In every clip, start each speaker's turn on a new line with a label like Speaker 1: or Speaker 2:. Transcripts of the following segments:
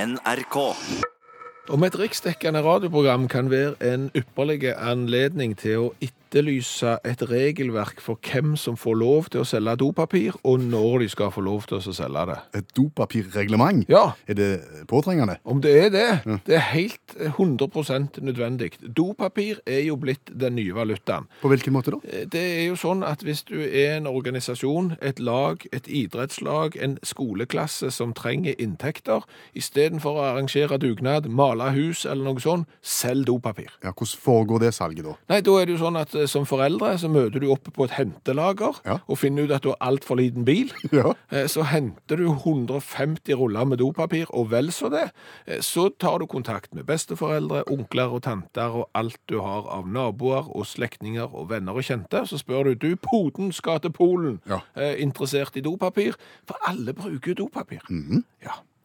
Speaker 1: NRK.
Speaker 2: Om et riksdekkende radioprogram kan være en ypperlig anledning til å etterlyse et regelverk for hvem som får lov til å selge dopapir, og når de skal få lov til å selge det.
Speaker 3: Et dopapirreglement?
Speaker 2: Ja.
Speaker 3: Er det påtrengende?
Speaker 2: Om det er det, det er helt 100 nødvendig. Dopapir er jo blitt den nye valutaen.
Speaker 3: På hvilken måte da?
Speaker 2: Det er jo sånn at hvis du er en organisasjon, et lag, et idrettslag, en skoleklasse som trenger inntekter, istedenfor å arrangere dugnad, male hus eller noe sånt, selg dopapir.
Speaker 3: Ja, Hvordan foregår det salget da?
Speaker 2: Nei, da er det jo sånn at eh, som foreldre så møter du opp på et hentelager
Speaker 3: Ja.
Speaker 2: og finner ut at du har altfor liten bil.
Speaker 3: Ja.
Speaker 2: Eh, Så henter du 150 ruller med dopapir, og vel så det. Eh, Så tar du kontakt med besteforeldre, onkler og tanter og alt du har av naboer og slektninger og venner og kjente. Så spør du du, poden skal til Polen,
Speaker 3: Ja.
Speaker 2: Eh, interessert i dopapir? For alle bruker jo dopapir. Ja.
Speaker 3: Mhm.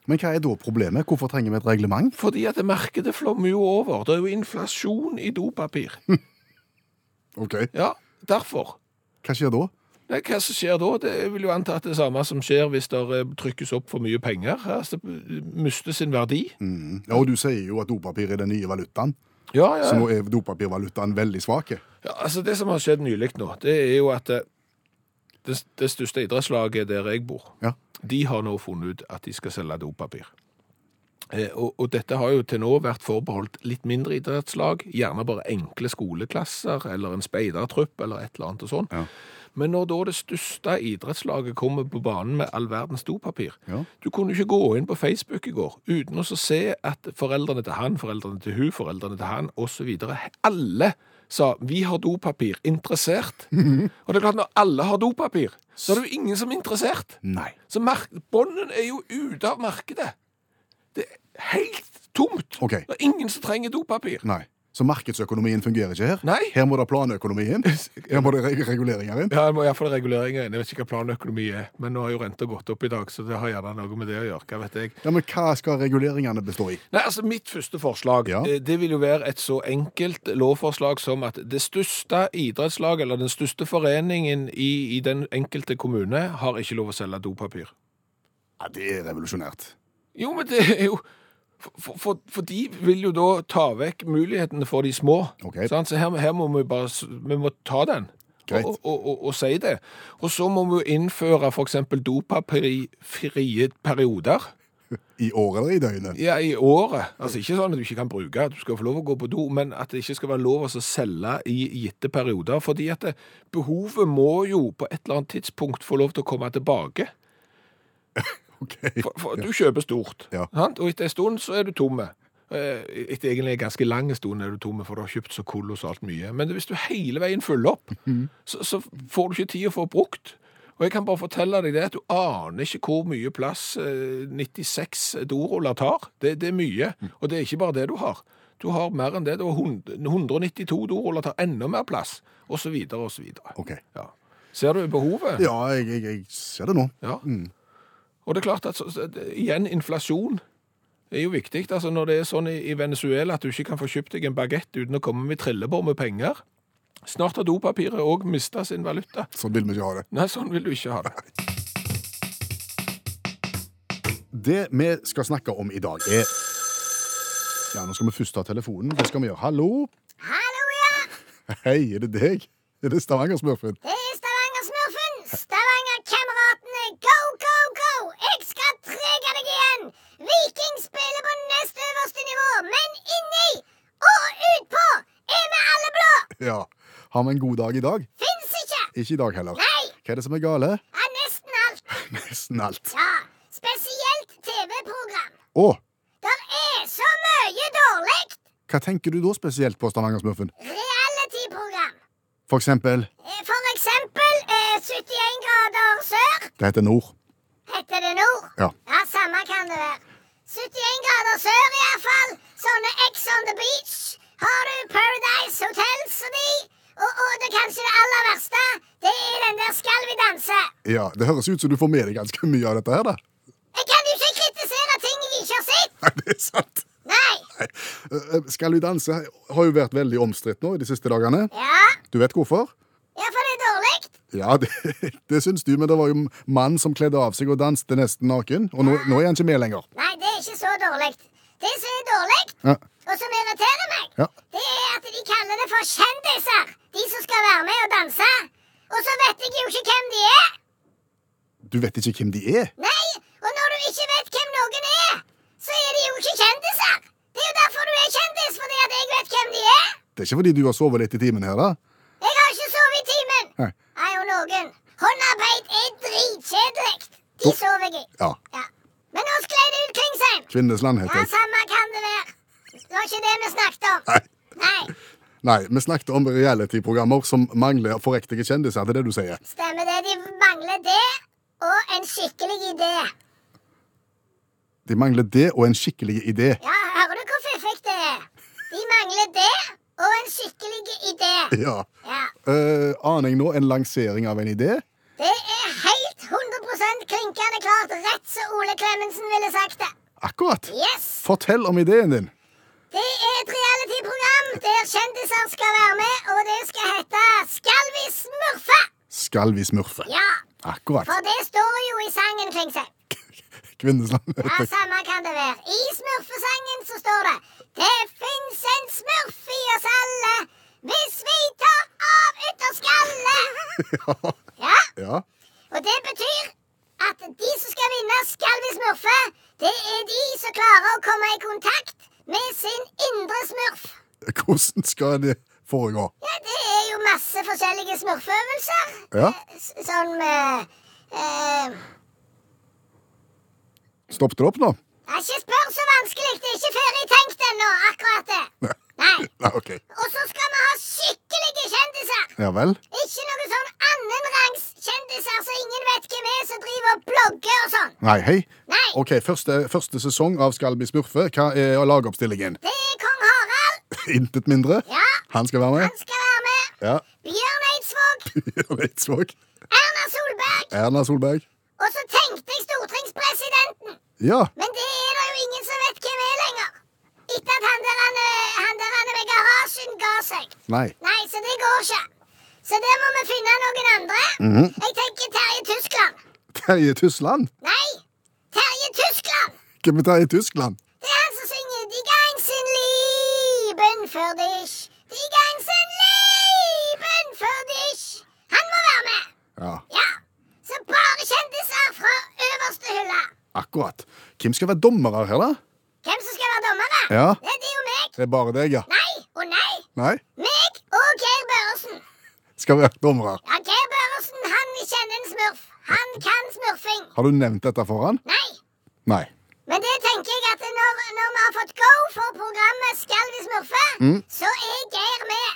Speaker 3: Men hva er da problemet? Hvorfor trenger vi et reglement?
Speaker 2: Fordi at markedet flommer jo over. Det er jo inflasjon i dopapir.
Speaker 3: Ok,
Speaker 2: Ja, derfor.
Speaker 3: Hva skjer da?
Speaker 2: Nei, Hva som skjer da? Det jeg vil jo anta at det samme som skjer hvis det eh, trykkes opp for mye penger. Altså, mister sin verdi.
Speaker 3: Mm. Ja, og Du sier jo at dopapir er den nye valutaen,
Speaker 2: Ja, ja,
Speaker 3: så
Speaker 2: ja.
Speaker 3: nå er dopapirvalutaen veldig svak.
Speaker 2: ja. Altså, det som har skjedd nylig nå, det er jo at eh, det, det største idrettslaget der jeg bor,
Speaker 3: Ja.
Speaker 2: de har nå funnet ut at de skal selge dopapir. Eh, og, og dette har jo til nå vært forbeholdt litt mindre idrettslag, gjerne bare enkle skoleklasser, eller en speidertrupp, eller et eller annet og sånn.
Speaker 3: Ja.
Speaker 2: Men når da det største idrettslaget kommer på banen med all verdens dopapir,
Speaker 3: Ja.
Speaker 2: du kunne ikke gå inn på Facebook i går uten å så se at foreldrene til han, foreldrene til hun, foreldrene til han, osv. Alle sa 'vi har dopapir, interessert'.
Speaker 3: Mhm.
Speaker 2: Og det er klart, når alle har dopapir, så er det jo ingen som er interessert.
Speaker 3: Nei.
Speaker 2: Så mark bånden er jo ute av markedet. Det er helt tomt.
Speaker 3: Ok.
Speaker 2: Det er ingen som trenger dopapir.
Speaker 3: Nei. Så markedsøkonomien fungerer ikke her?
Speaker 2: Nei.
Speaker 3: Her må det planøkonomien. Her må det reg- reguleringer inn.
Speaker 2: Ja, jeg må iallfall reguleringer inn. Jeg vet ikke hva planøkonomi er, men nå har jo renta gått opp i dag, så det har gjerne noe med det å gjøre. Hva vet jeg.
Speaker 3: Ja, Men hva skal reguleringene bestå i?
Speaker 2: Nei, altså Mitt første forslag
Speaker 3: Ja.
Speaker 2: eh, det vil jo være et så enkelt lovforslag som at det største idrettslaget eller den største foreningen i, i den enkelte kommune har ikke lov å selge dopapir.
Speaker 3: Ja, Det er revolusjonært.
Speaker 2: Jo, men det er jo for, for, for de vil jo da ta vekk mulighetene for de små.
Speaker 3: Ok.
Speaker 2: Sant? Så her, her må vi bare s- vi må ta den.
Speaker 3: Greit.
Speaker 2: Og, og, og, og si det. Og så må vi jo innføre f.eks. dopapirfrie perioder.
Speaker 3: I året eller i døgnet?
Speaker 2: Ja, i året. Altså ikke sånn at du ikke kan bruke, at du skal få lov å gå på do, men at det ikke skal være lov å så selge i gitte perioder. Fordi at det, behovet må jo på et eller annet tidspunkt få lov til å komme tilbake.
Speaker 3: Ok.
Speaker 2: For, for du kjøper stort,
Speaker 3: Ja.
Speaker 2: sant? og etter en stund så er du tomme. Eh, Etter egentlig en ganske lang stund er du tomme, for du har kjøpt så kolossalt mye. Men hvis du hele veien fyller opp,
Speaker 3: Mhm.
Speaker 2: så, så får du ikke tid å få brukt. Og jeg kan bare fortelle deg det, at du aner ikke hvor mye plass eh, 96 doruller tar. Det, det er mye,
Speaker 3: Mm.
Speaker 2: og det er ikke bare det du har. Du har mer enn det. Du har hund- 192 doruller tar enda mer plass, og så videre og så videre.
Speaker 3: Ok.
Speaker 2: Ja. Ser du behovet?
Speaker 3: Ja, jeg, jeg, jeg ser det nå.
Speaker 2: Ja. Og det er klart at så- så- det- igjen, inflasjon er jo viktig. Altså Når det er sånn i, i Venezuela at du ikke kan få kjøpt deg en bagett uten å komme med trillebår med penger Snart har dopapiret òg mista sin valuta.
Speaker 3: Sånn vil vi ikke ha det.
Speaker 2: Nei, sånn vil du ikke ha det.
Speaker 3: Det vi skal snakke om i dag, er Ja, nå skal vi først ta telefonen. Det skal vi gjøre. Hallo?
Speaker 4: Hallo, ja!
Speaker 3: Hei, er det deg? Er det Stavanger-smurfen?
Speaker 4: Det er Stavanger-smurfen! Stavanger-kameratene, go, go, go! Jeg skal trege deg igjen! Viking spiller på nest øverste nivå, men inni og utpå er vi alle blå!
Speaker 3: Ja. Har vi en god dag i dag?
Speaker 4: Fins ikke!
Speaker 3: Ikke i dag heller.
Speaker 4: Nei!
Speaker 3: Hva er det som er gale?
Speaker 4: Er nesten alt.
Speaker 3: Nesten alt.
Speaker 4: Ja, spesielt TV-program.
Speaker 3: Å,
Speaker 4: Der er så mye dårlig
Speaker 3: hva tenker du da spesielt på, Stavanger-smurfen?
Speaker 4: reality-program.
Speaker 3: For eksempel
Speaker 4: Eh, For eksempel eh, 71 grader sør
Speaker 3: Det heter Nord.
Speaker 4: heter det nord.
Speaker 3: Ja.
Speaker 4: Ja, samme kan det være. 71 grader sør i hvert fall. Sånne Ex on the beach. Har du Paradise Hotels og de. Og, og det kanskje det aller verste, det er den der Skal vi danse.
Speaker 3: Ja, Det høres ut som du får med deg ganske mye av dette her, da.
Speaker 4: Jeg kan jo ikke kritisere ting jeg ikke har sett.
Speaker 3: Nei, det er sant.
Speaker 4: Nei.
Speaker 3: Nei. Eh, Skal vi danse har jo vært veldig omstridt nå i de siste dagene.
Speaker 4: Ja,
Speaker 3: Du vet hvorfor?
Speaker 4: ja for det er dårlig.
Speaker 3: Ja, det, det syns du, men det var jo en mann som kledde av seg og danste nesten naken, og nå, nå er han ikke med lenger.
Speaker 4: Nei, det er ikke så dårlig. Det som er dårlig,
Speaker 3: Ja.
Speaker 4: og som irriterer meg,
Speaker 3: Ja.
Speaker 4: det er at de kaller det for kjendiser. De som skal være med og danse. Og så vet jeg jo ikke hvem de er.
Speaker 3: Du vet ikke hvem de er?
Speaker 4: Nei, og når du ikke vet hvem noen er, så er de jo ikke kjendiser. Det er jo derfor du er kjendis, fordi at jeg vet hvem de er.
Speaker 3: Det er ikke fordi du har sovet litt i timen her, da?
Speaker 4: Jeg har ikke sovet i timen.
Speaker 3: Nei.
Speaker 4: Nei, og noen. Håndarbeid er dritkjedelig. De
Speaker 3: Nå-
Speaker 4: sover jeg i.
Speaker 3: Ja.
Speaker 4: Ja. Men nå sklei det ut Klingsheim.
Speaker 3: Kvinnesland
Speaker 4: Ja,
Speaker 3: heter jeg.
Speaker 4: samme kan det være. Det var ikke det vi snakket om.
Speaker 3: Nei.
Speaker 4: Nei,
Speaker 3: Nei, vi snakket om reality-programmer som mangler forriktige kjendiser. Det er det du sier.
Speaker 4: stemmer det. De mangler det og en skikkelig idé.
Speaker 3: De mangler det og en skikkelig idé.
Speaker 4: Ja, hører du hvor fiffig det er? De mangler det og en skikkelig idé.
Speaker 3: Ja.
Speaker 4: Ja.
Speaker 3: Eh, aner jeg nå en lansering av en idé?
Speaker 4: Det er helt 100 klinkende klart rett som Ole Klemetsen ville sagt det.
Speaker 3: Akkurat.
Speaker 4: Yes!
Speaker 3: Fortell om ideen din.
Speaker 4: Det er et reality-program der kjendiser skal være med, og det skal hete Skal vi smurfe?
Speaker 3: Skal vi smurfe?
Speaker 4: Ja,
Speaker 3: Akkurat.
Speaker 4: for det står jo i sangen, Klingsheim.
Speaker 3: Kvinnesland
Speaker 4: Ja,
Speaker 3: heter jeg.
Speaker 4: samme kan det være. I smurfesangen så står det Det fins en smurf i oss alle hvis vi tar av ytterskallet.
Speaker 3: Ja.
Speaker 4: Ja,
Speaker 3: ja.
Speaker 4: og det betyr at de som skal vinne Skal vi smurfe, det er de som klarer å komme i kontakt med sin indre smurf.
Speaker 3: Hvordan skal det foregå?
Speaker 4: Ja, det er jo masse forskjellige smurfeøvelser.
Speaker 3: Ja.
Speaker 4: Eh, s- Sånn med eh,
Speaker 3: Stoppet det opp nå?
Speaker 4: ja, Ikke spør så vanskelig. Det er ikke ferdig tenkt ennå, akkurat det. Nei.
Speaker 3: Nei, ok.
Speaker 4: Og så skal vi ha skikkelige kjendiser.
Speaker 3: Ja vel.
Speaker 4: Ikke noe sånn annenrangs kjendiser så ingen vet hvem er som driver og blogger og sånn.
Speaker 3: Nei, hei.
Speaker 4: Nei.
Speaker 3: Ok, første, første sesong av Skal vi smurfe. Hva er lagoppstillingen?
Speaker 4: Det er kong Harald.
Speaker 3: Intet mindre.
Speaker 4: Ja,
Speaker 3: Han skal være med.
Speaker 4: han skal være med.
Speaker 3: Ja.
Speaker 4: Bjørn Eidsvåg.
Speaker 3: Bjørn Eidsvåg.
Speaker 4: Erna Solberg.
Speaker 3: Erna Solberg.
Speaker 4: Og så tenkte jeg stortingspresidenten.
Speaker 3: Ja.
Speaker 4: Men det er det jo ingen som vet hvem er lenger. Etter at han der, han, eh, han der han med garasjen ga seg.
Speaker 3: Nei.
Speaker 4: Nei, så det går ikke. Så der må vi finne noen andre.
Speaker 3: Mhm.
Speaker 4: Jeg tenker Terje Tyskland.
Speaker 3: Terje Tusland.
Speaker 4: Nei, Terje Tyskland!
Speaker 3: Hvem er Terje Tusland?
Speaker 4: Det er han som synger 'De gangsen lieben für dich'. De gangsen lieben für dich. Han må være med.
Speaker 3: Ja,
Speaker 4: Ja. Så bare kjendiser fra øverste hylle.
Speaker 3: akkurat. Hvem skal være dommere her, da?
Speaker 4: Hvem som skal være dommere?
Speaker 3: Ja.
Speaker 4: Det, det er jo meg.
Speaker 3: Det er bare deg, ja.
Speaker 4: Nei og nei.
Speaker 3: Nei?
Speaker 4: Meg og Geir Børresen.
Speaker 3: Skal være dommere.
Speaker 4: Ja, Geir Børresen han kjenner en smurf. Han kan smurfing.
Speaker 3: Har du nevnt dette for han?
Speaker 4: Nei.
Speaker 3: Nei.
Speaker 4: Men det tenker jeg at når, når vi har fått go for programmet Skal vi smurfe,
Speaker 3: Mm.
Speaker 4: så er Geir med.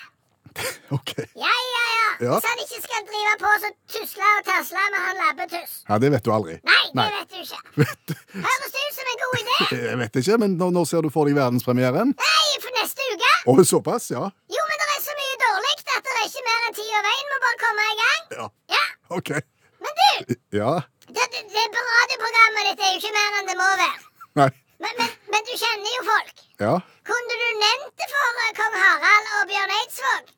Speaker 3: Ok.
Speaker 4: Ja, ja, ja.
Speaker 3: Ja.
Speaker 4: Hvis han ikke skal drive på så tusle og tasle med han labbetuss.
Speaker 3: Ja, det vet du aldri.
Speaker 4: Nei, det
Speaker 3: Nei.
Speaker 4: vet du ikke. Høres det ut som en god idé?
Speaker 3: Jeg vet ikke, men når, når ser du for deg verdenspremieren?
Speaker 4: Nei, for neste uke.
Speaker 3: Og såpass, ja.
Speaker 4: Jo, men det er så mye dårlig at det er ikke mer enn tid og veien. Må bare komme i gang.
Speaker 3: Ja,
Speaker 4: Ja.
Speaker 3: ok.
Speaker 4: Men du!
Speaker 3: Ja.
Speaker 4: Det, det, det på radioprogrammet ditt er jo ikke mer enn det må være.
Speaker 3: Nei.
Speaker 4: Men, men, men du kjenner jo folk.
Speaker 3: Ja,
Speaker 4: Kunne du nevnt det for eh, kong Harald og Bjørn Eidsvåg?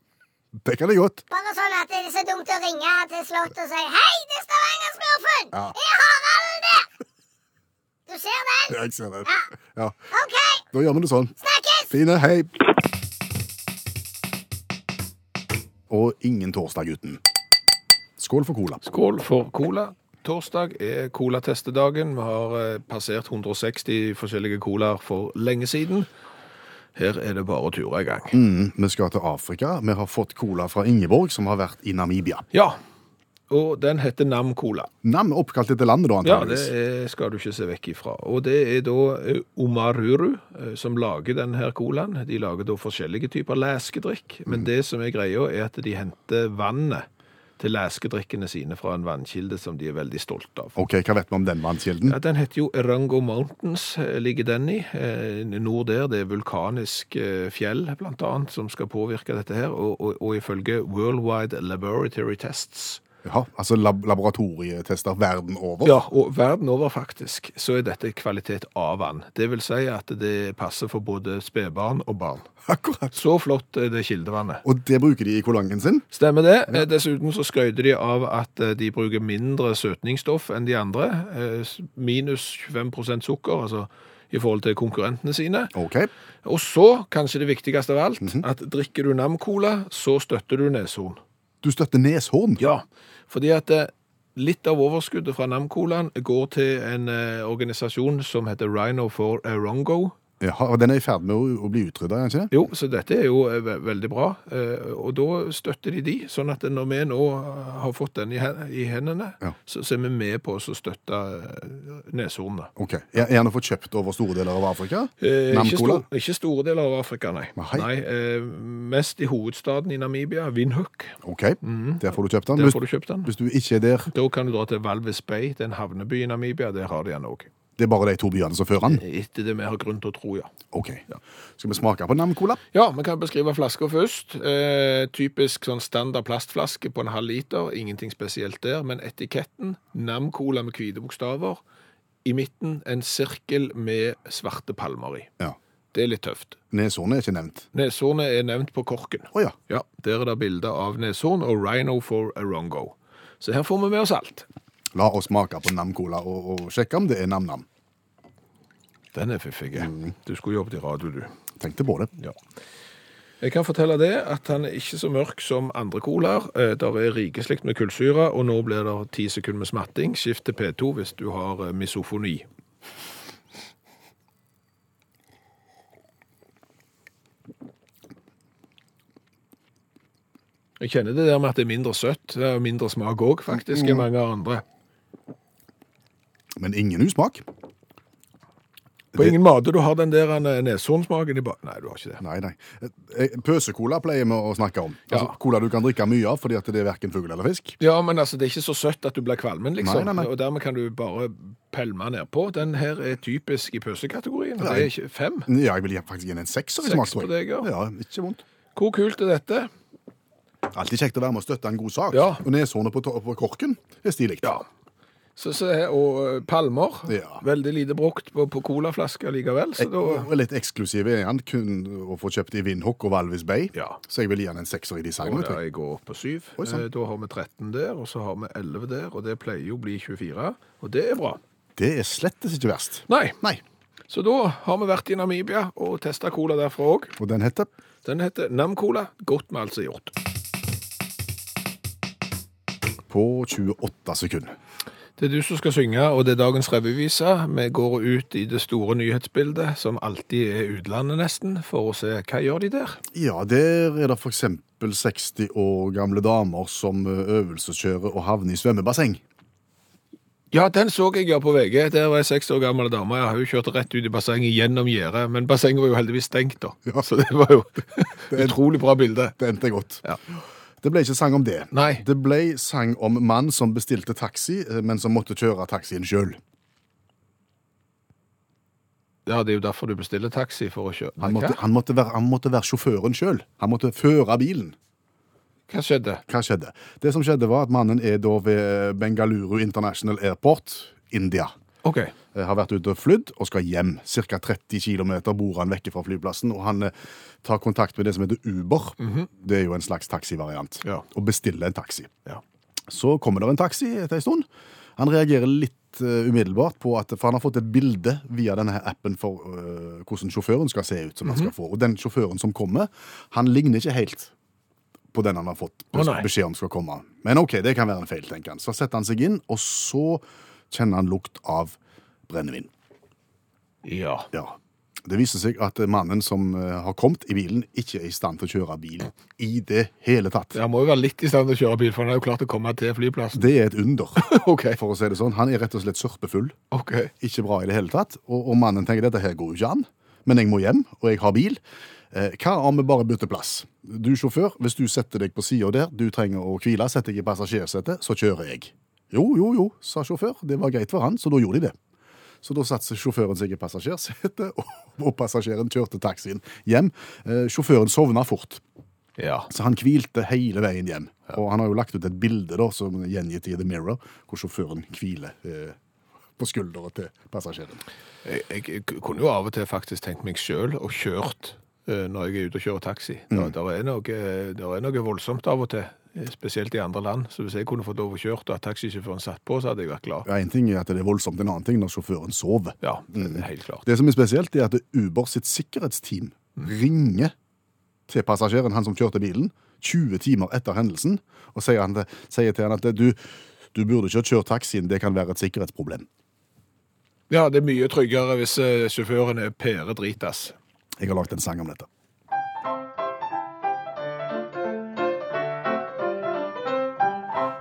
Speaker 3: det kan jeg godt.
Speaker 4: Bare sånn at det er så dumt å ringe til Slottet og si Hei, det er Stavanger-smurfen!
Speaker 3: Ja.
Speaker 4: Er Harald der? Du ser den?
Speaker 3: Ja, Jeg ser det.
Speaker 4: Ja.
Speaker 3: Ja,
Speaker 4: OK,
Speaker 3: da gjør vi det sånn.
Speaker 4: snakkes!
Speaker 3: Fine, hei. Og ingen torsdag uten. Skål for cola.
Speaker 2: Skål for cola. Torsdag er colatestedagen. Vi har eh, passert 160 forskjellige colaer for lenge siden. Her er det bare å ture i gang.
Speaker 3: Mm, vi skal til Afrika. Vi har fått cola fra Ingeborg, som har vært i Namibia.
Speaker 2: Ja, og den heter Nam Cola.
Speaker 3: Nam er oppkalt etter landet, da,
Speaker 2: Ja, det
Speaker 3: antageligvis.
Speaker 2: er, skal du ikke se vekk ifra. Og det er da eh, Omaruru eh, som lager denne her colaen. De lager da forskjellige typer læskedrikk, men det som er greia er at de henter vannet til læskedrikkene sine fra en vannkilde som de er veldig stolte av.
Speaker 3: Ok, Hva vet vi om den vannkilden?
Speaker 2: Ja, den heter jo Erango Mountains, eh, ligger den i. Eh, Nord der, det er vulkanisk eh, fjell, blant annet, som skal påvirke dette her. Og, og, og ifølge Worldwide Laboratory Tests,
Speaker 3: Ja, altså lab Laboratorietester verden over?
Speaker 2: ja, og verden over faktisk, så er dette kvalitet av vann. Det vil si at det passer for både spedbarn og barn.
Speaker 3: Akkurat.
Speaker 2: Så flott er det kildevannet.
Speaker 3: Og det bruker de i kolangen sin?
Speaker 2: Stemmer det. Eh, Dessuten så skrøyder de av at eh, de bruker mindre søtningsstoff enn de andre. eh, s- Minus 25 sukker, altså i forhold til konkurrentene sine.
Speaker 3: OK.
Speaker 2: Og så, kanskje det viktigste av alt, at drikker du Nam-cola, så støtter du neshorn.
Speaker 3: Du støtter Neshorn.
Speaker 2: Ja, fordi at eh, litt av overskuddet fra Nam-colaen går til en eh, organisasjon som heter Rhino for Arongo.
Speaker 3: Jaha, og den er i ferd med å, å bli utrydda, er den ikke det?
Speaker 2: Jo, så dette er jo eh, ve- veldig bra, eh, og da støtter de de, sånn at når vi nå eh, har fått den i hen- i hendene,
Speaker 3: Ja.
Speaker 2: så, så er vi med på å støtte eh, neshornene.
Speaker 3: Ok, Er er den fått kjøpt over store deler av Afrika?
Speaker 2: Eh, ikke,
Speaker 3: Namcola?
Speaker 2: stor, ikke store deler av Afrika, nei.
Speaker 3: Nei.
Speaker 2: eh, mest i hovedstaden i Namibia, Windhoek.
Speaker 3: OK, der får du kjøpt den.
Speaker 2: Mhm. Der
Speaker 3: Hvis,
Speaker 2: får du kjøpt den.
Speaker 3: hvis du ikke er der,
Speaker 2: Da kan du dra til Valvis Bay, det er en havneby i Namibia, der har de den òg.
Speaker 3: det er bare de to byene som fører den?
Speaker 2: Etter det vi har grunn til å tro, ja.
Speaker 3: OK. Skal vi smake på Namcola?
Speaker 2: Ja, vi kan beskrive flasker først. Eh, typisk sånn standard plastflaske på en halv liter. Ingenting spesielt der. Men etiketten Nam-cola med hvite bokstaver. I midten en sirkel med svarte palmer i.
Speaker 3: Ja.
Speaker 2: Det er litt tøft.
Speaker 3: Neshorn er ikke nevnt.
Speaker 2: Neshornet er nevnt på korken.
Speaker 3: Å ja.
Speaker 2: Ja, Der er det bilder av neshorn og Rhino for Arongo. Så her får vi med oss alt.
Speaker 3: La oss smake på Namcola og, og sjekke om det er nam-nam.
Speaker 2: Den er fiffig. Du skulle jobbet i radio, du.
Speaker 3: Tenkte på det.
Speaker 2: Ja. Jeg kan fortelle det at han er ikke så mørk som andre colaer. Eh, Der er rikeslikt med kullsyre, og nå blir det ti sekunder med smatting. Skift til P2 hvis du har eh, misofoni. Jeg kjenner det der med at det er mindre søtt eh, og mindre smak òg, faktisk, enn mange andre.
Speaker 3: Men ingen usmak.
Speaker 2: På ingen måte du har den der eh, neshornsmaken i ba... Nei, du har ikke det.
Speaker 3: Nei, nei. Eh, Pøsekola pleier vi å snakke om.
Speaker 2: Ja.
Speaker 3: Altså, cola du kan drikke mye av fordi at det er verken fugl eller fisk.
Speaker 2: Ja, men altså, det er ikke så søtt at du blir kvalmen, liksom.
Speaker 3: Nei, nei, nei.
Speaker 2: Og dermed kan du bare pælme nedpå. Den her er typisk i pøsekategorien. Det
Speaker 3: Nei.
Speaker 2: er ikke fem.
Speaker 3: Ja, jeg vil gi- faktisk gi den en sekser i
Speaker 2: Seks
Speaker 3: smak, tror
Speaker 2: på deg, ja.
Speaker 3: Ja, ikke vondt.
Speaker 2: Hvor kult er dette?
Speaker 3: Alltid kjekt å være med og støtte en god sak.
Speaker 2: Ja.
Speaker 3: Og neshornet på, to- på korken er stilig.
Speaker 2: Ja. Så, så her, og eh, palmer.
Speaker 3: Ja.
Speaker 2: Veldig lite brukt på, på colaflasker likevel, så
Speaker 3: Ek-
Speaker 2: da
Speaker 3: og litt eksklusiv er han kun å få kjøpt i Vindhokk og Valvis Bay.
Speaker 2: Ja.
Speaker 3: Så jeg vil gi han en sekser i design.
Speaker 2: og
Speaker 3: vet du.
Speaker 2: der jeg går opp på syv.
Speaker 3: Oi, sånn. sant.
Speaker 2: Eh, Da har vi 13 der, og så har vi 11 der, og det pleier jo å bli 24. Og det er bra.
Speaker 3: Det er slettes ikke verst.
Speaker 2: Nei,
Speaker 3: Nei.
Speaker 2: så da har vi vært i Namibia og testa cola derfra òg.
Speaker 3: Og den heter
Speaker 2: Den heter Nam-Cola. Godt med altså alt som er gjort.
Speaker 3: På 28 sekunder.
Speaker 2: Det er du som skal synge, og det er dagens revyvise. Vi går ut i det store nyhetsbildet, som alltid er utlandet nesten, for å se hva gjør de der.
Speaker 3: Ja, der er det f.eks. 60 år gamle damer som ø, øvelseskjører og havner i svømmebasseng.
Speaker 2: Ja, den så jeg ja på VG. Der var ei seks år gammel dame. Jeg har jo kjørt rett ut i bassenget gjennom gjerdet, men bassenget var jo heldigvis stengt, da.
Speaker 3: Ja.
Speaker 2: Så det var jo utrolig bra bilde.
Speaker 3: Det endte godt.
Speaker 2: Ja.
Speaker 3: Det ble ikke sang om det.
Speaker 2: Nei.
Speaker 3: Det ble sang om mann som bestilte taxi, ø, men som måtte kjøre taxien sjøl.
Speaker 2: Ja, det er jo derfor du bestiller taxi, for å kjøre.
Speaker 3: Han, måtte-
Speaker 2: Hva?
Speaker 3: han, måtte være- han måtte være sjåføren sjøl. Han måtte føre bilen.
Speaker 2: hva skjedde?
Speaker 3: Hva skjedde? Det som skjedde var at mannen er da ved eh, Bengaluru International Airport, India.
Speaker 2: OK.
Speaker 3: Eh, Har vært ute og flydd og skal hjem. Ca. 30 km bor han vekke fra flyplassen. Og han eh, tar kontakt med det som heter Uber. Det er jo en slags taxivariant.
Speaker 2: Ja.
Speaker 3: Og bestiller en taxi.
Speaker 2: Ja.
Speaker 3: Så kommer det en taxi etter en stund. Han reagerer litt eh, umiddelbart på at For han har fått et bilde via denne her appen for eh, hvordan sjåføren skal se ut. som
Speaker 2: Mhm.
Speaker 3: han skal få. Og den sjåføren som kommer, han ligner ikke helt på den han har fått
Speaker 2: Å, nei.
Speaker 3: beskjed om skal komme. Men OK, det kan være en feil, tenker han. Så setter han seg inn, og så kjenner han lukt av brennevin.
Speaker 2: Ja.
Speaker 3: Ja. Det viser seg at mannen som eh, har kommet i bilen, ikke er i stand til å kjøre bilen i det hele tatt.
Speaker 2: Han må jo være litt i stand til å kjøre bil, for han har jo klart å komme til flyplassen.
Speaker 3: Det er et under,
Speaker 2: OK.
Speaker 3: for å si det sånn. Han er rett og slett sørpefull.
Speaker 2: OK.
Speaker 3: Ikke bra i det hele tatt. Og, og mannen tenker dette her går jo ikke an, men jeg må hjem, og jeg har bil. Eh, hva om vi bare bytter plass? Du sjåfør, hvis du setter deg på sida der, du trenger å hvile, setter deg i passasjersetet, så kjører jeg. Jo, jo, jo, sa sjåfør. Det var greit for han, så da gjorde de det. Så da satte sjåføren seg i passasjersetet, og, og passasjeren kjørte taxien hjem. Eh, sjåføren sovna fort,
Speaker 2: Ja.
Speaker 3: så han hvilte hele veien hjem. Og han har jo lagt ut et bilde da, som er gjengitt i The Mirror, hvor sjåføren hviler eh, på skuldra til passasjeren.
Speaker 2: Jeg, jeg, jeg kunne jo av og til faktisk tenkt meg sjøl og
Speaker 3: Mm.
Speaker 2: kjørt eh, når jeg er ute og kjører taxi. Der, der, er noe, der er noe voldsomt av og til eh, spesielt i andre land. Så hvis jeg kunne fått overkjørt og at taxisjåføren satt på, så hadde jeg vært glad.
Speaker 3: Ja, Én ting er at det er voldsomt, en annen ting når sjåføren sover.
Speaker 2: Ja,
Speaker 3: Mm.
Speaker 2: det er helt klart.
Speaker 3: Det som er spesielt, er at Uber sitt sikkerhetsteam ringer til passasjeren, han som kjørte bilen, 20 timer etter hendelsen, og sier, han, sier til han at du, du burde ikke ha kjørt taxien, det kan være et sikkerhetsproblem.
Speaker 2: Ja, det er mye tryggere hvis eh, sjåføren er pæredritas.
Speaker 3: Jeg har lagd en sang om dette.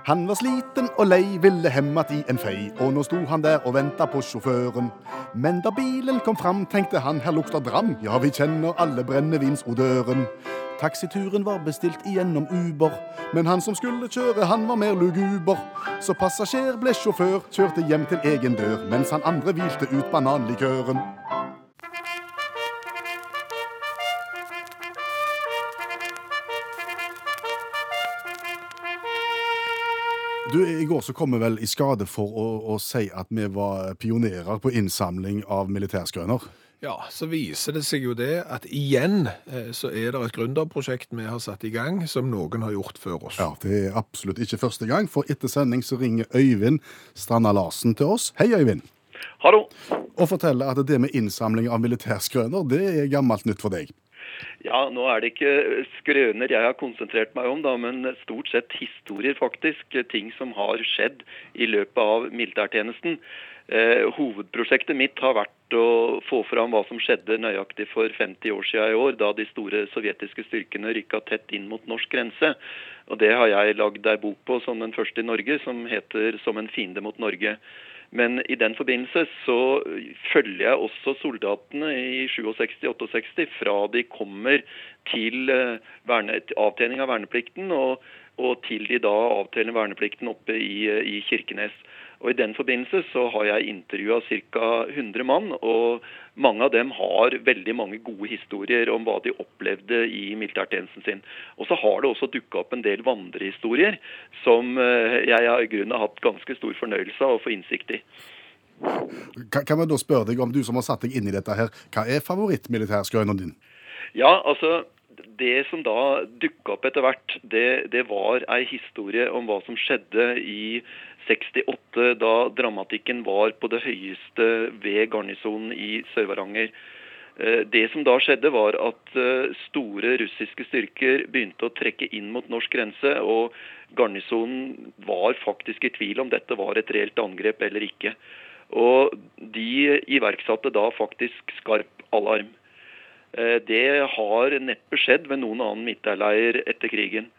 Speaker 3: Han var sliten og lei, ville hemmet i en fei, og nå sto han der og venta på sjåføren. Men da bilen kom fram, tenkte han her lukter dram, ja vi kjenner alle brennevinsodøren. Taxituren var bestilt igjennom Uber, men han som skulle kjøre, han var mer luguber. Så passasjer ble sjåfør, kjørte hjem til egen dør, mens han andre hvilte ut bananlikøren. Du, I går så kom vi vel i skade for å, å si at vi var pionerer på innsamling av militærskrøner.
Speaker 2: Ja, så viser det seg jo det at igjen eh, så er det et gründerprosjekt vi har satt i gang, som noen har gjort før oss.
Speaker 3: Ja, Det er absolutt ikke første gang, for etter sending så ringer Øyvind Stranda Larsen til oss. Hei, Øyvind.
Speaker 1: Hallo.
Speaker 3: Og forteller at det med innsamling av militærskrøner, det er gammelt nytt for deg.
Speaker 1: Ja, nå er det ikke skrøner jeg har konsentrert meg om, da, men stort sett historier, faktisk. eh, Ting som har skjedd i løpet av militærtjenesten. Eh, hovedprosjektet mitt har vært å få fram hva som skjedde nøyaktig for 50 år siden i år, da de store sovjetiske styrkene rykka tett inn mot norsk grense. Og det har jeg lagd ei bok på som den første i Norge, som heter 'Som en fiende mot Norge'. Men i den forbindelse så følger jeg også soldatene i 67-68 fra de kommer til eh, verne, til avtjening av verneplikten og, og til de da avtjener verneplikten oppe i, eh, i Kirkenes. Og I den forbindelse så har jeg intervjua ca. 100 mann, og mange av dem har veldig mange gode historier om hva de opplevde i militærtjenesten sin. Og så har det også dukka opp en del vandrehistorier som eh, jeg har i grunnen har hatt ganske stor fornøyelse av å få innsikt i.
Speaker 3: Kan, kan vi da spørre deg om du som har satt deg inn i dette her, hva er favorittmilitærskrøna din?
Speaker 1: Ja, altså det som da dukka opp etter hvert, det, det var ei historie om hva som skjedde i 68, da dramatikken var på det høyeste ved garnisonen i Sør-Varanger. Eh, Det som da skjedde, var at eh, store russiske styrker begynte å trekke inn mot norsk grense, og garnisonen var faktisk i tvil om dette var et reelt angrep eller ikke. Og de iverksatte da faktisk skarp alarm. Eh, Det har neppe skjedd ved noen annen midtleir etter krigen.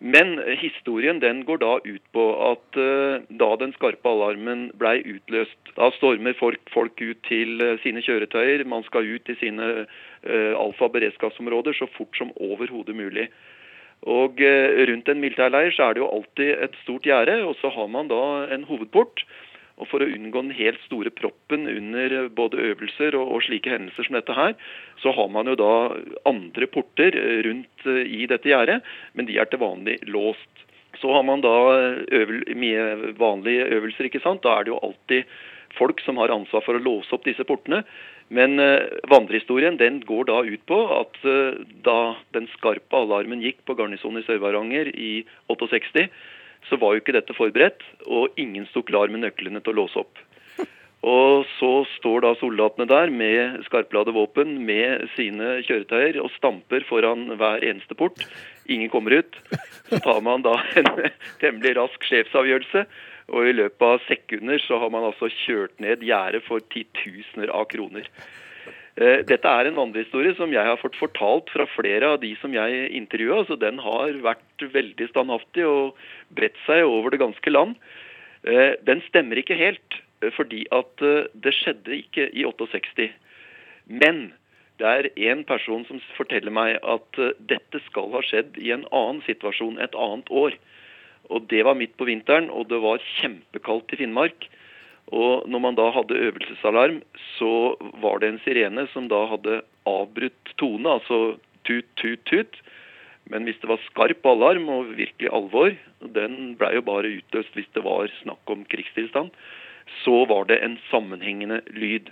Speaker 1: Men historien den går da ut på at eh, da den skarpe alarmen blei utløst, da stormer folk, folk ut til eh, sine kjøretøyer. Man skal ut til sine eh, alfa beredskapsområder så fort som overhodet mulig. Og eh, rundt en militærleir så er det jo alltid et stort gjerde, og så har man da en hovedport. Og For å unngå den helt store proppen under både øvelser og, og slike hendelser som dette her, så har man jo da andre porter eh, rundt eh, i dette gjerdet, men de er til vanlig låst. Så har man da eh, øvel, mye vanlige øvelser, ikke sant. Da er det jo alltid folk som har ansvar for å låse opp disse portene. Men eh, vandrehistorien den går da ut på at eh, da den skarpe alarmen gikk på garnisonen i Sør-Varanger i 68, så var jo ikke dette forberedt, og ingen sto klar med nøklene til å låse opp. Og så står da soldatene der med skarpladde våpen, med sine kjøretøyer, og stamper foran hver eneste port. Ingen kommer ut. Så tar man da en temmelig rask sjefsavgjørelse, og i løpet av sekunder så har man altså kjørt ned gjerdet for titusener av kroner. Eh, Dette er en vandrehistorie som jeg har fått fortalt fra flere av de som jeg intervjua, så den har vært veldig standhaftig og bredt seg over det ganske land. Eh, Den stemmer ikke helt, eh, fordi at eh, det skjedde ikke i 68. Men det er en person som forteller meg at eh, dette skal ha skjedd i en annen situasjon et annet år. Og det var midt på vinteren, og det var kjempekaldt i Finnmark. Og når man da hadde øvelsesalarm, så var det en sirene som da hadde avbrutt tone, altså tut, tut, tut. Men hvis det var skarp alarm og virkelig alvor, den blei jo bare utløst hvis det var snakk om krigstilstand, så var det en sammenhengende lyd.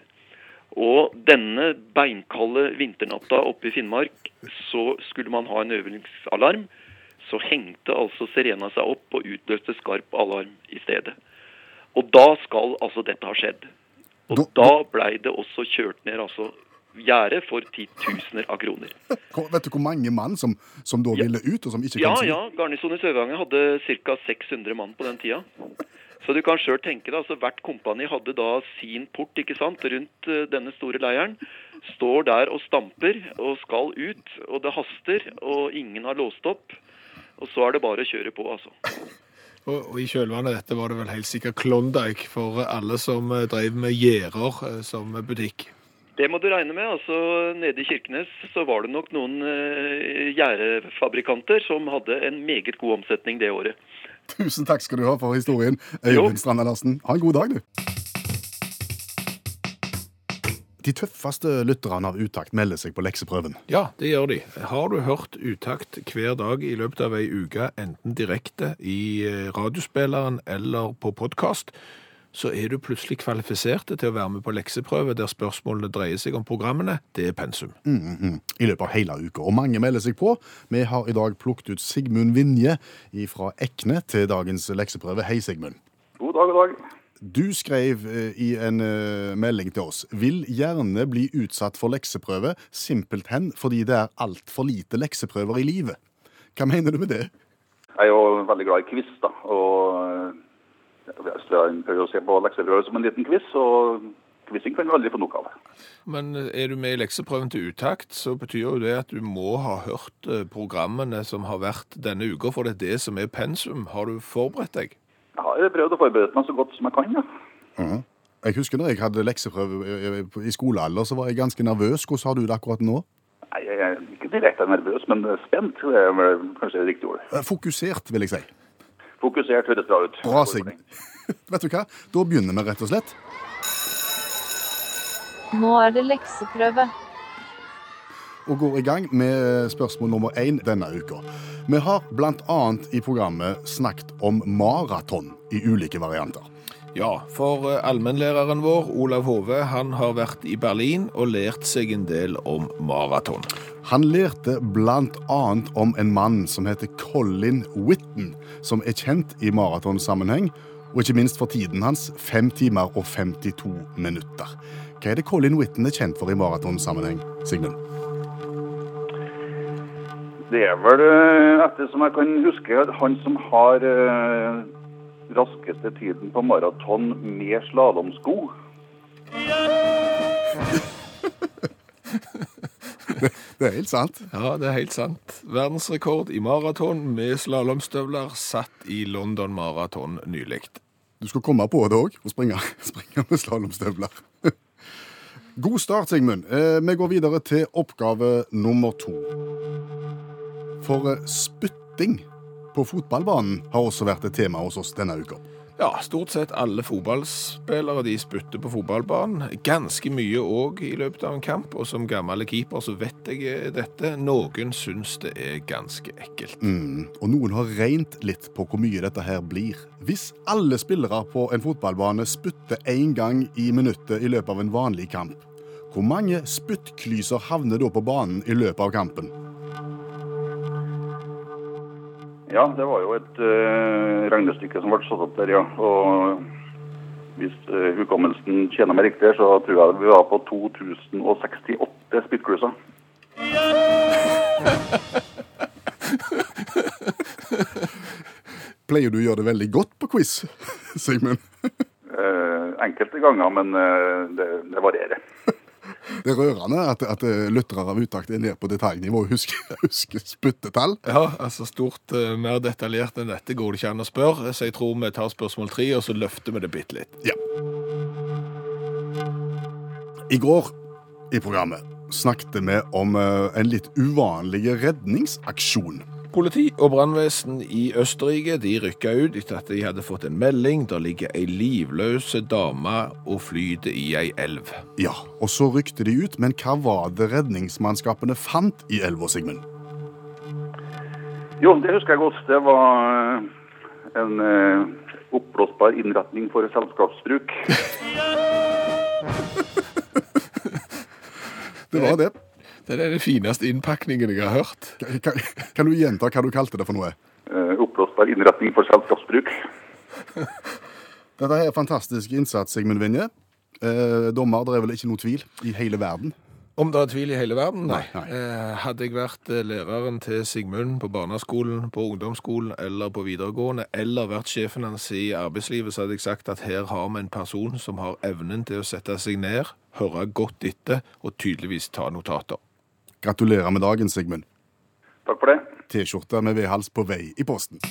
Speaker 1: Og denne beinkalde vinternatta oppe i Finnmark, så skulle man ha en øvingsalarm. så hengte altså Serena seg opp og utløste skarp alarm i stedet. Og da skal altså dette ha skjedd. Og
Speaker 3: Da-
Speaker 1: da blei det også kjørt ned altså gjerdet for titusener av kroner.
Speaker 3: Hvor- Vet du hvor mange mann som, som da
Speaker 1: Ja.
Speaker 3: ville ut, og som ikke
Speaker 1: Ja,
Speaker 3: kan si
Speaker 1: ja. Garnisonen i Sør-Varanger hadde ca. 600 mann på den tida. Så du kan sjøl tenke deg, altså hvert kompani hadde da sin port ikke sant, rundt eh, denne store leiren. Står der og stamper og skal ut, og det haster, og ingen har låst opp. Og så er det bare å kjøre på, altså.
Speaker 2: Og, og i kjølvannet av dette var det vel helt sikkert Klondyke for alle som eh, drev med gjerder eh, som butikk.
Speaker 1: Det må du regne med. altså Nede i Kirkenes så var det nok noen eh, gjerdefabrikanter som hadde en meget god omsetning det året.
Speaker 3: Tusen takk skal du ha for historien, Øyvind
Speaker 1: Jo.
Speaker 3: Stranda Larsen. Ha en god dag, du. De tøffeste lytterne av Utakt melder seg på lekseprøven.
Speaker 2: Ja, det gjør de. Har du hørt utakt hver dag i løpet av ei uke, enten direkte i eh, radiospilleren eller på podkast, så er du plutselig kvalifisert til å være med på lekseprøve der spørsmålene dreier seg om programmene. Det er pensum.
Speaker 3: Mhm. I løpet av hele uka, og mange melder seg på. Vi har i dag plukket ut Sigmund Vinje fra Ekne til dagens lekseprøve. Hei, Sigmund.
Speaker 5: God dag, god dag.
Speaker 3: Du skrev eh, i en eh, melding til oss vil gjerne bli utsatt for lekseprøve simpelthen fordi det er altfor lite lekseprøver i livet. Hva mener du med det?
Speaker 5: Jeg er jo veldig glad i quiz, da. Og eh, jeg prøver å se på lekseprøver som en liten quiz, og quizing kan vi aldri få nok av.
Speaker 2: Men eh, er du med i lekseprøven til utakt, så betyr jo det at du må ha hørt eh, programmene som har vært denne uka, for det er det som er pensum. Har du forberedt deg?
Speaker 5: Jeg har prøvd å forberede meg så godt som jeg kan, da.
Speaker 3: Jeg husker når jeg hadde lekseprøve eh, eh, i skolealder, så var jeg ganske nervøs. Hvordan har du det akkurat nå?
Speaker 5: Nei, Jeg er ikke direkte nervøs, men spent det er vel kanskje det riktige ordet.
Speaker 3: Eh, Fokusert, vil jeg si.
Speaker 5: Fokusert høres bra ut.
Speaker 3: Bra, Sigmund. Vet du hva? Da begynner vi, rett og slett.
Speaker 6: Nå er det lekseprøve.
Speaker 3: og går i gang med spørsmål nummer én denne uka. Vi har bl.a. i programmet snakket om maraton i ulike varianter.
Speaker 2: Ja, for eh, allmennlæreren vår, Olav Hove, han har vært i Berlin og lært seg en del om maraton.
Speaker 3: Han lærte bl.a. om en mann som heter Colin Whitten, som er kjent i maratonsammenheng, og ikke minst for tiden hans, 5 timer og 52 minutter. Hva er det Colin Whitten er kjent for i maratonsammenheng, Sigmund?
Speaker 5: Det er vel, eh, etter som jeg kan huske, han som har eh, raskeste tiden på maraton med slalåmsko.
Speaker 3: Det er helt sant.
Speaker 2: Ja, det er helt sant. Verdensrekord i maraton med slalåmstøvler satt i London Maraton nylig.
Speaker 3: Du skulle komme på det òg, og springe, springe med slalåmstøvler. God start, Sigmund. Eh, vi går videre til oppgave nummer to. For eh, spytting på fotballbanen har også vært et tema hos oss denne uka.
Speaker 2: Ja, stort sett alle fotballspillere de spytter på fotballbanen. Ganske mye òg i løpet av en kamp, og som gammel keeper så vet jeg eh, dette. Noen syns det er ganske ekkelt.
Speaker 3: Mm. Og noen har regnet litt på hvor mye dette her blir. Hvis alle spillere på en fotballbane spytter én gang i minuttet i løpet av en vanlig kamp, hvor mange spyttklyser havner da på banen i løpet av kampen?
Speaker 5: Ja, det var jo et eh, regnestykke som ble satt opp der, ja. Og hvis eh, hukommelsen tjener meg riktig, så tror jeg vi var på 2068 spyttkluser.
Speaker 3: Pleier du å gjøre det veldig godt på quiz, Sigmund?
Speaker 5: Eh, enkelte ganger, men eh, det, det varierer.
Speaker 3: Det er rørende at, at eh, lyttere av utakt er nede på detaljnivå og husker, husker spyttetall.
Speaker 2: Ja, altså stort eh, mer detaljert enn dette går det ikke an å spørre, så jeg tror vi tar spørsmål tre, og så løfter vi det bitte litt.
Speaker 3: Ja. I går i programmet snakket vi om eh, en litt uvanlig redningsaksjon.
Speaker 2: Politi og brannvesen i Østerrike de rykka ut etter at de hadde fått en melding. Der ligger ei livløse dame og flyter i ei elv.
Speaker 3: Ja, og så rykte de ut, men hva var det redningsmannskapene fant i elva, Sigmund?
Speaker 5: Jo, det husker jeg godt. Det var eh, en eh, oppblåsbar innretning for selskapsbruk.
Speaker 3: Det var det.
Speaker 2: Det er den fineste innpakningen jeg har hørt.
Speaker 3: Kan, kan- kan du gjenta hva du kalte det for noe?
Speaker 5: Eh, Oppblåsbar innretning for selskapsbruk.
Speaker 3: Dette her er fantastisk innsats, Sigmund Vinje. Eh, dommer, det er vel ikke noe tvil i hele verden.
Speaker 2: Om det er tvil i hele verden? Nei.
Speaker 3: Nei, nei.
Speaker 2: Eh, Hadde jeg vært eh, læreren til Sigmund på barneskolen, på ungdomsskolen eller på videregående, eller vært sjefen hans i arbeidslivet, så hadde jeg sagt at her har vi en person som har evnen til å sette seg ned, høre godt etter og tydeligvis ta notater.
Speaker 3: Gratulerer med dagen, Sigmund.
Speaker 5: Takk for det.
Speaker 3: T-skjorte med V-hals på vei i posten.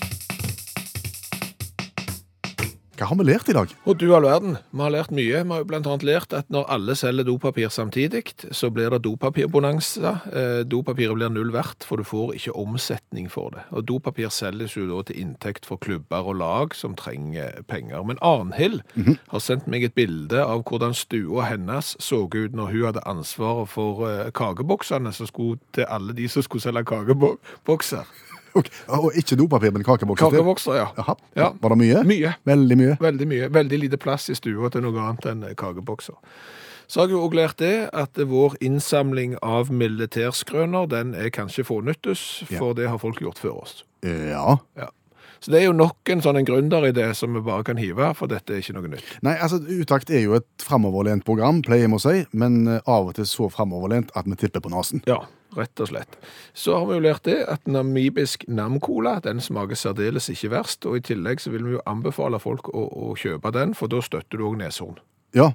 Speaker 3: Hva har vi lært i dag?
Speaker 2: Og du all verden, vi har lært mye. Vi har jo blant annet lært at når alle selger dopapir samtidig, så blir det dopapirbonanza. Eh, Dopapiret blir null verdt, for du får ikke omsetning for det. Og dopapir selges jo da til inntekt for klubber og lag som trenger penger. Men Arnhild har sendt meg et bilde av hvordan stua hennes så ut når hun hadde ansvaret for eh, kakeboksene som skulle til alle de som skulle selge kakebokser.
Speaker 3: Ok, Og ikke dopapir, men kakebokser. til.
Speaker 2: Kakebokser, ja.
Speaker 3: Jaha.
Speaker 2: Ja.
Speaker 3: Var det mye?
Speaker 2: Mye.
Speaker 3: Veldig mye.
Speaker 2: Veldig mye. Veldig lite plass i stua til noe annet enn kakebokser. Så har jeg jo også lært det at vår innsamling av militærskrøner, den er kanskje fånyttes,
Speaker 3: Ja.
Speaker 2: for det har folk gjort før oss.
Speaker 3: Eh, Ja.
Speaker 2: Ja. Så det er jo nok en sånn en gründeridé som vi bare kan hive, for dette er ikke noe nytt.
Speaker 3: Nei, altså, Utakt er jo et framoverlent program, pleier vi å si, men eh, av og til så framoverlent at vi tipper på nesen.
Speaker 2: Ja, rett og slett. Så har vi jo lært det at namibisk namcola, den smaker særdeles ikke verst, og i tillegg så vil vi jo anbefale folk å, å kjøpe den, for da støtter du òg neshorn.
Speaker 3: Ja.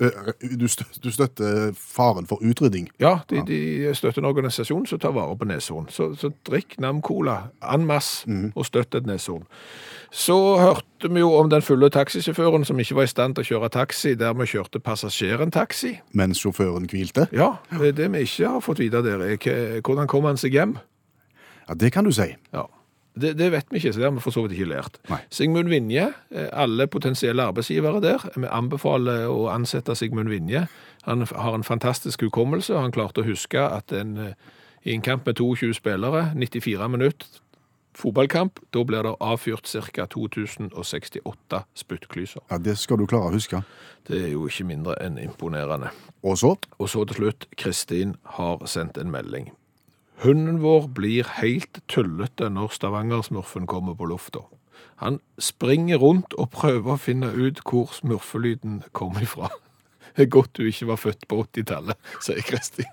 Speaker 3: Eh, Du stø- du støtter faren for utrydding.
Speaker 2: Ja, de, de støtter en organisasjon som tar vare på neshorn. Så, så drikk Nam-Cola en masse og støtt et neshorn. Så hørte vi jo om den fulle taxisjåføren som ikke var i stand til å kjøre taxi. Dermed kjørte passasjeren taxi.
Speaker 3: Mens sjåføren hvilte?
Speaker 2: Ja, det, er det vi ikke har fått vite der, er hva- hvordan kom han seg hjem.
Speaker 3: Ja, det kan du si.
Speaker 2: Ja. Det, det vet vi ikke, så det har vi for så vidt ikke lært.
Speaker 3: Nei.
Speaker 2: Sigmund Vinje, eh, alle potensielle arbeidsgivere der, eh, vi anbefaler å ansette Sigmund Vinje. Han f- har en fantastisk hukommelse, han klarte å huske at en, eh, i en kamp med 22 spillere, 94 minutter, fotballkamp, da blir det avfyrt ca. 2068 spyttklyser.
Speaker 3: Ja, Det skal du klare å huske.
Speaker 2: Det er jo ikke mindre enn imponerende.
Speaker 3: Og så?
Speaker 2: Og så til slutt, Kristin har sendt en melding. Hunden vår blir helt tullete når Stavangersmurfen kommer på lufta. Han springer rundt og prøver å finne ut hvor smurfelyden kom ifra. Det er godt du ikke var født på 80-tallet, sier Kristin.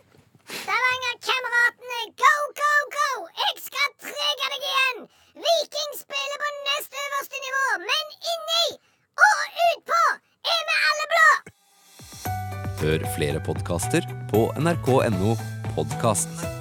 Speaker 4: Stavanger-kameratene, go, go, go! Jeg skal trege deg igjen! Viking spiller på nest øverste nivå, men inni og utpå er vi alle blå!
Speaker 7: Hør flere podkaster på nrk.no podkast.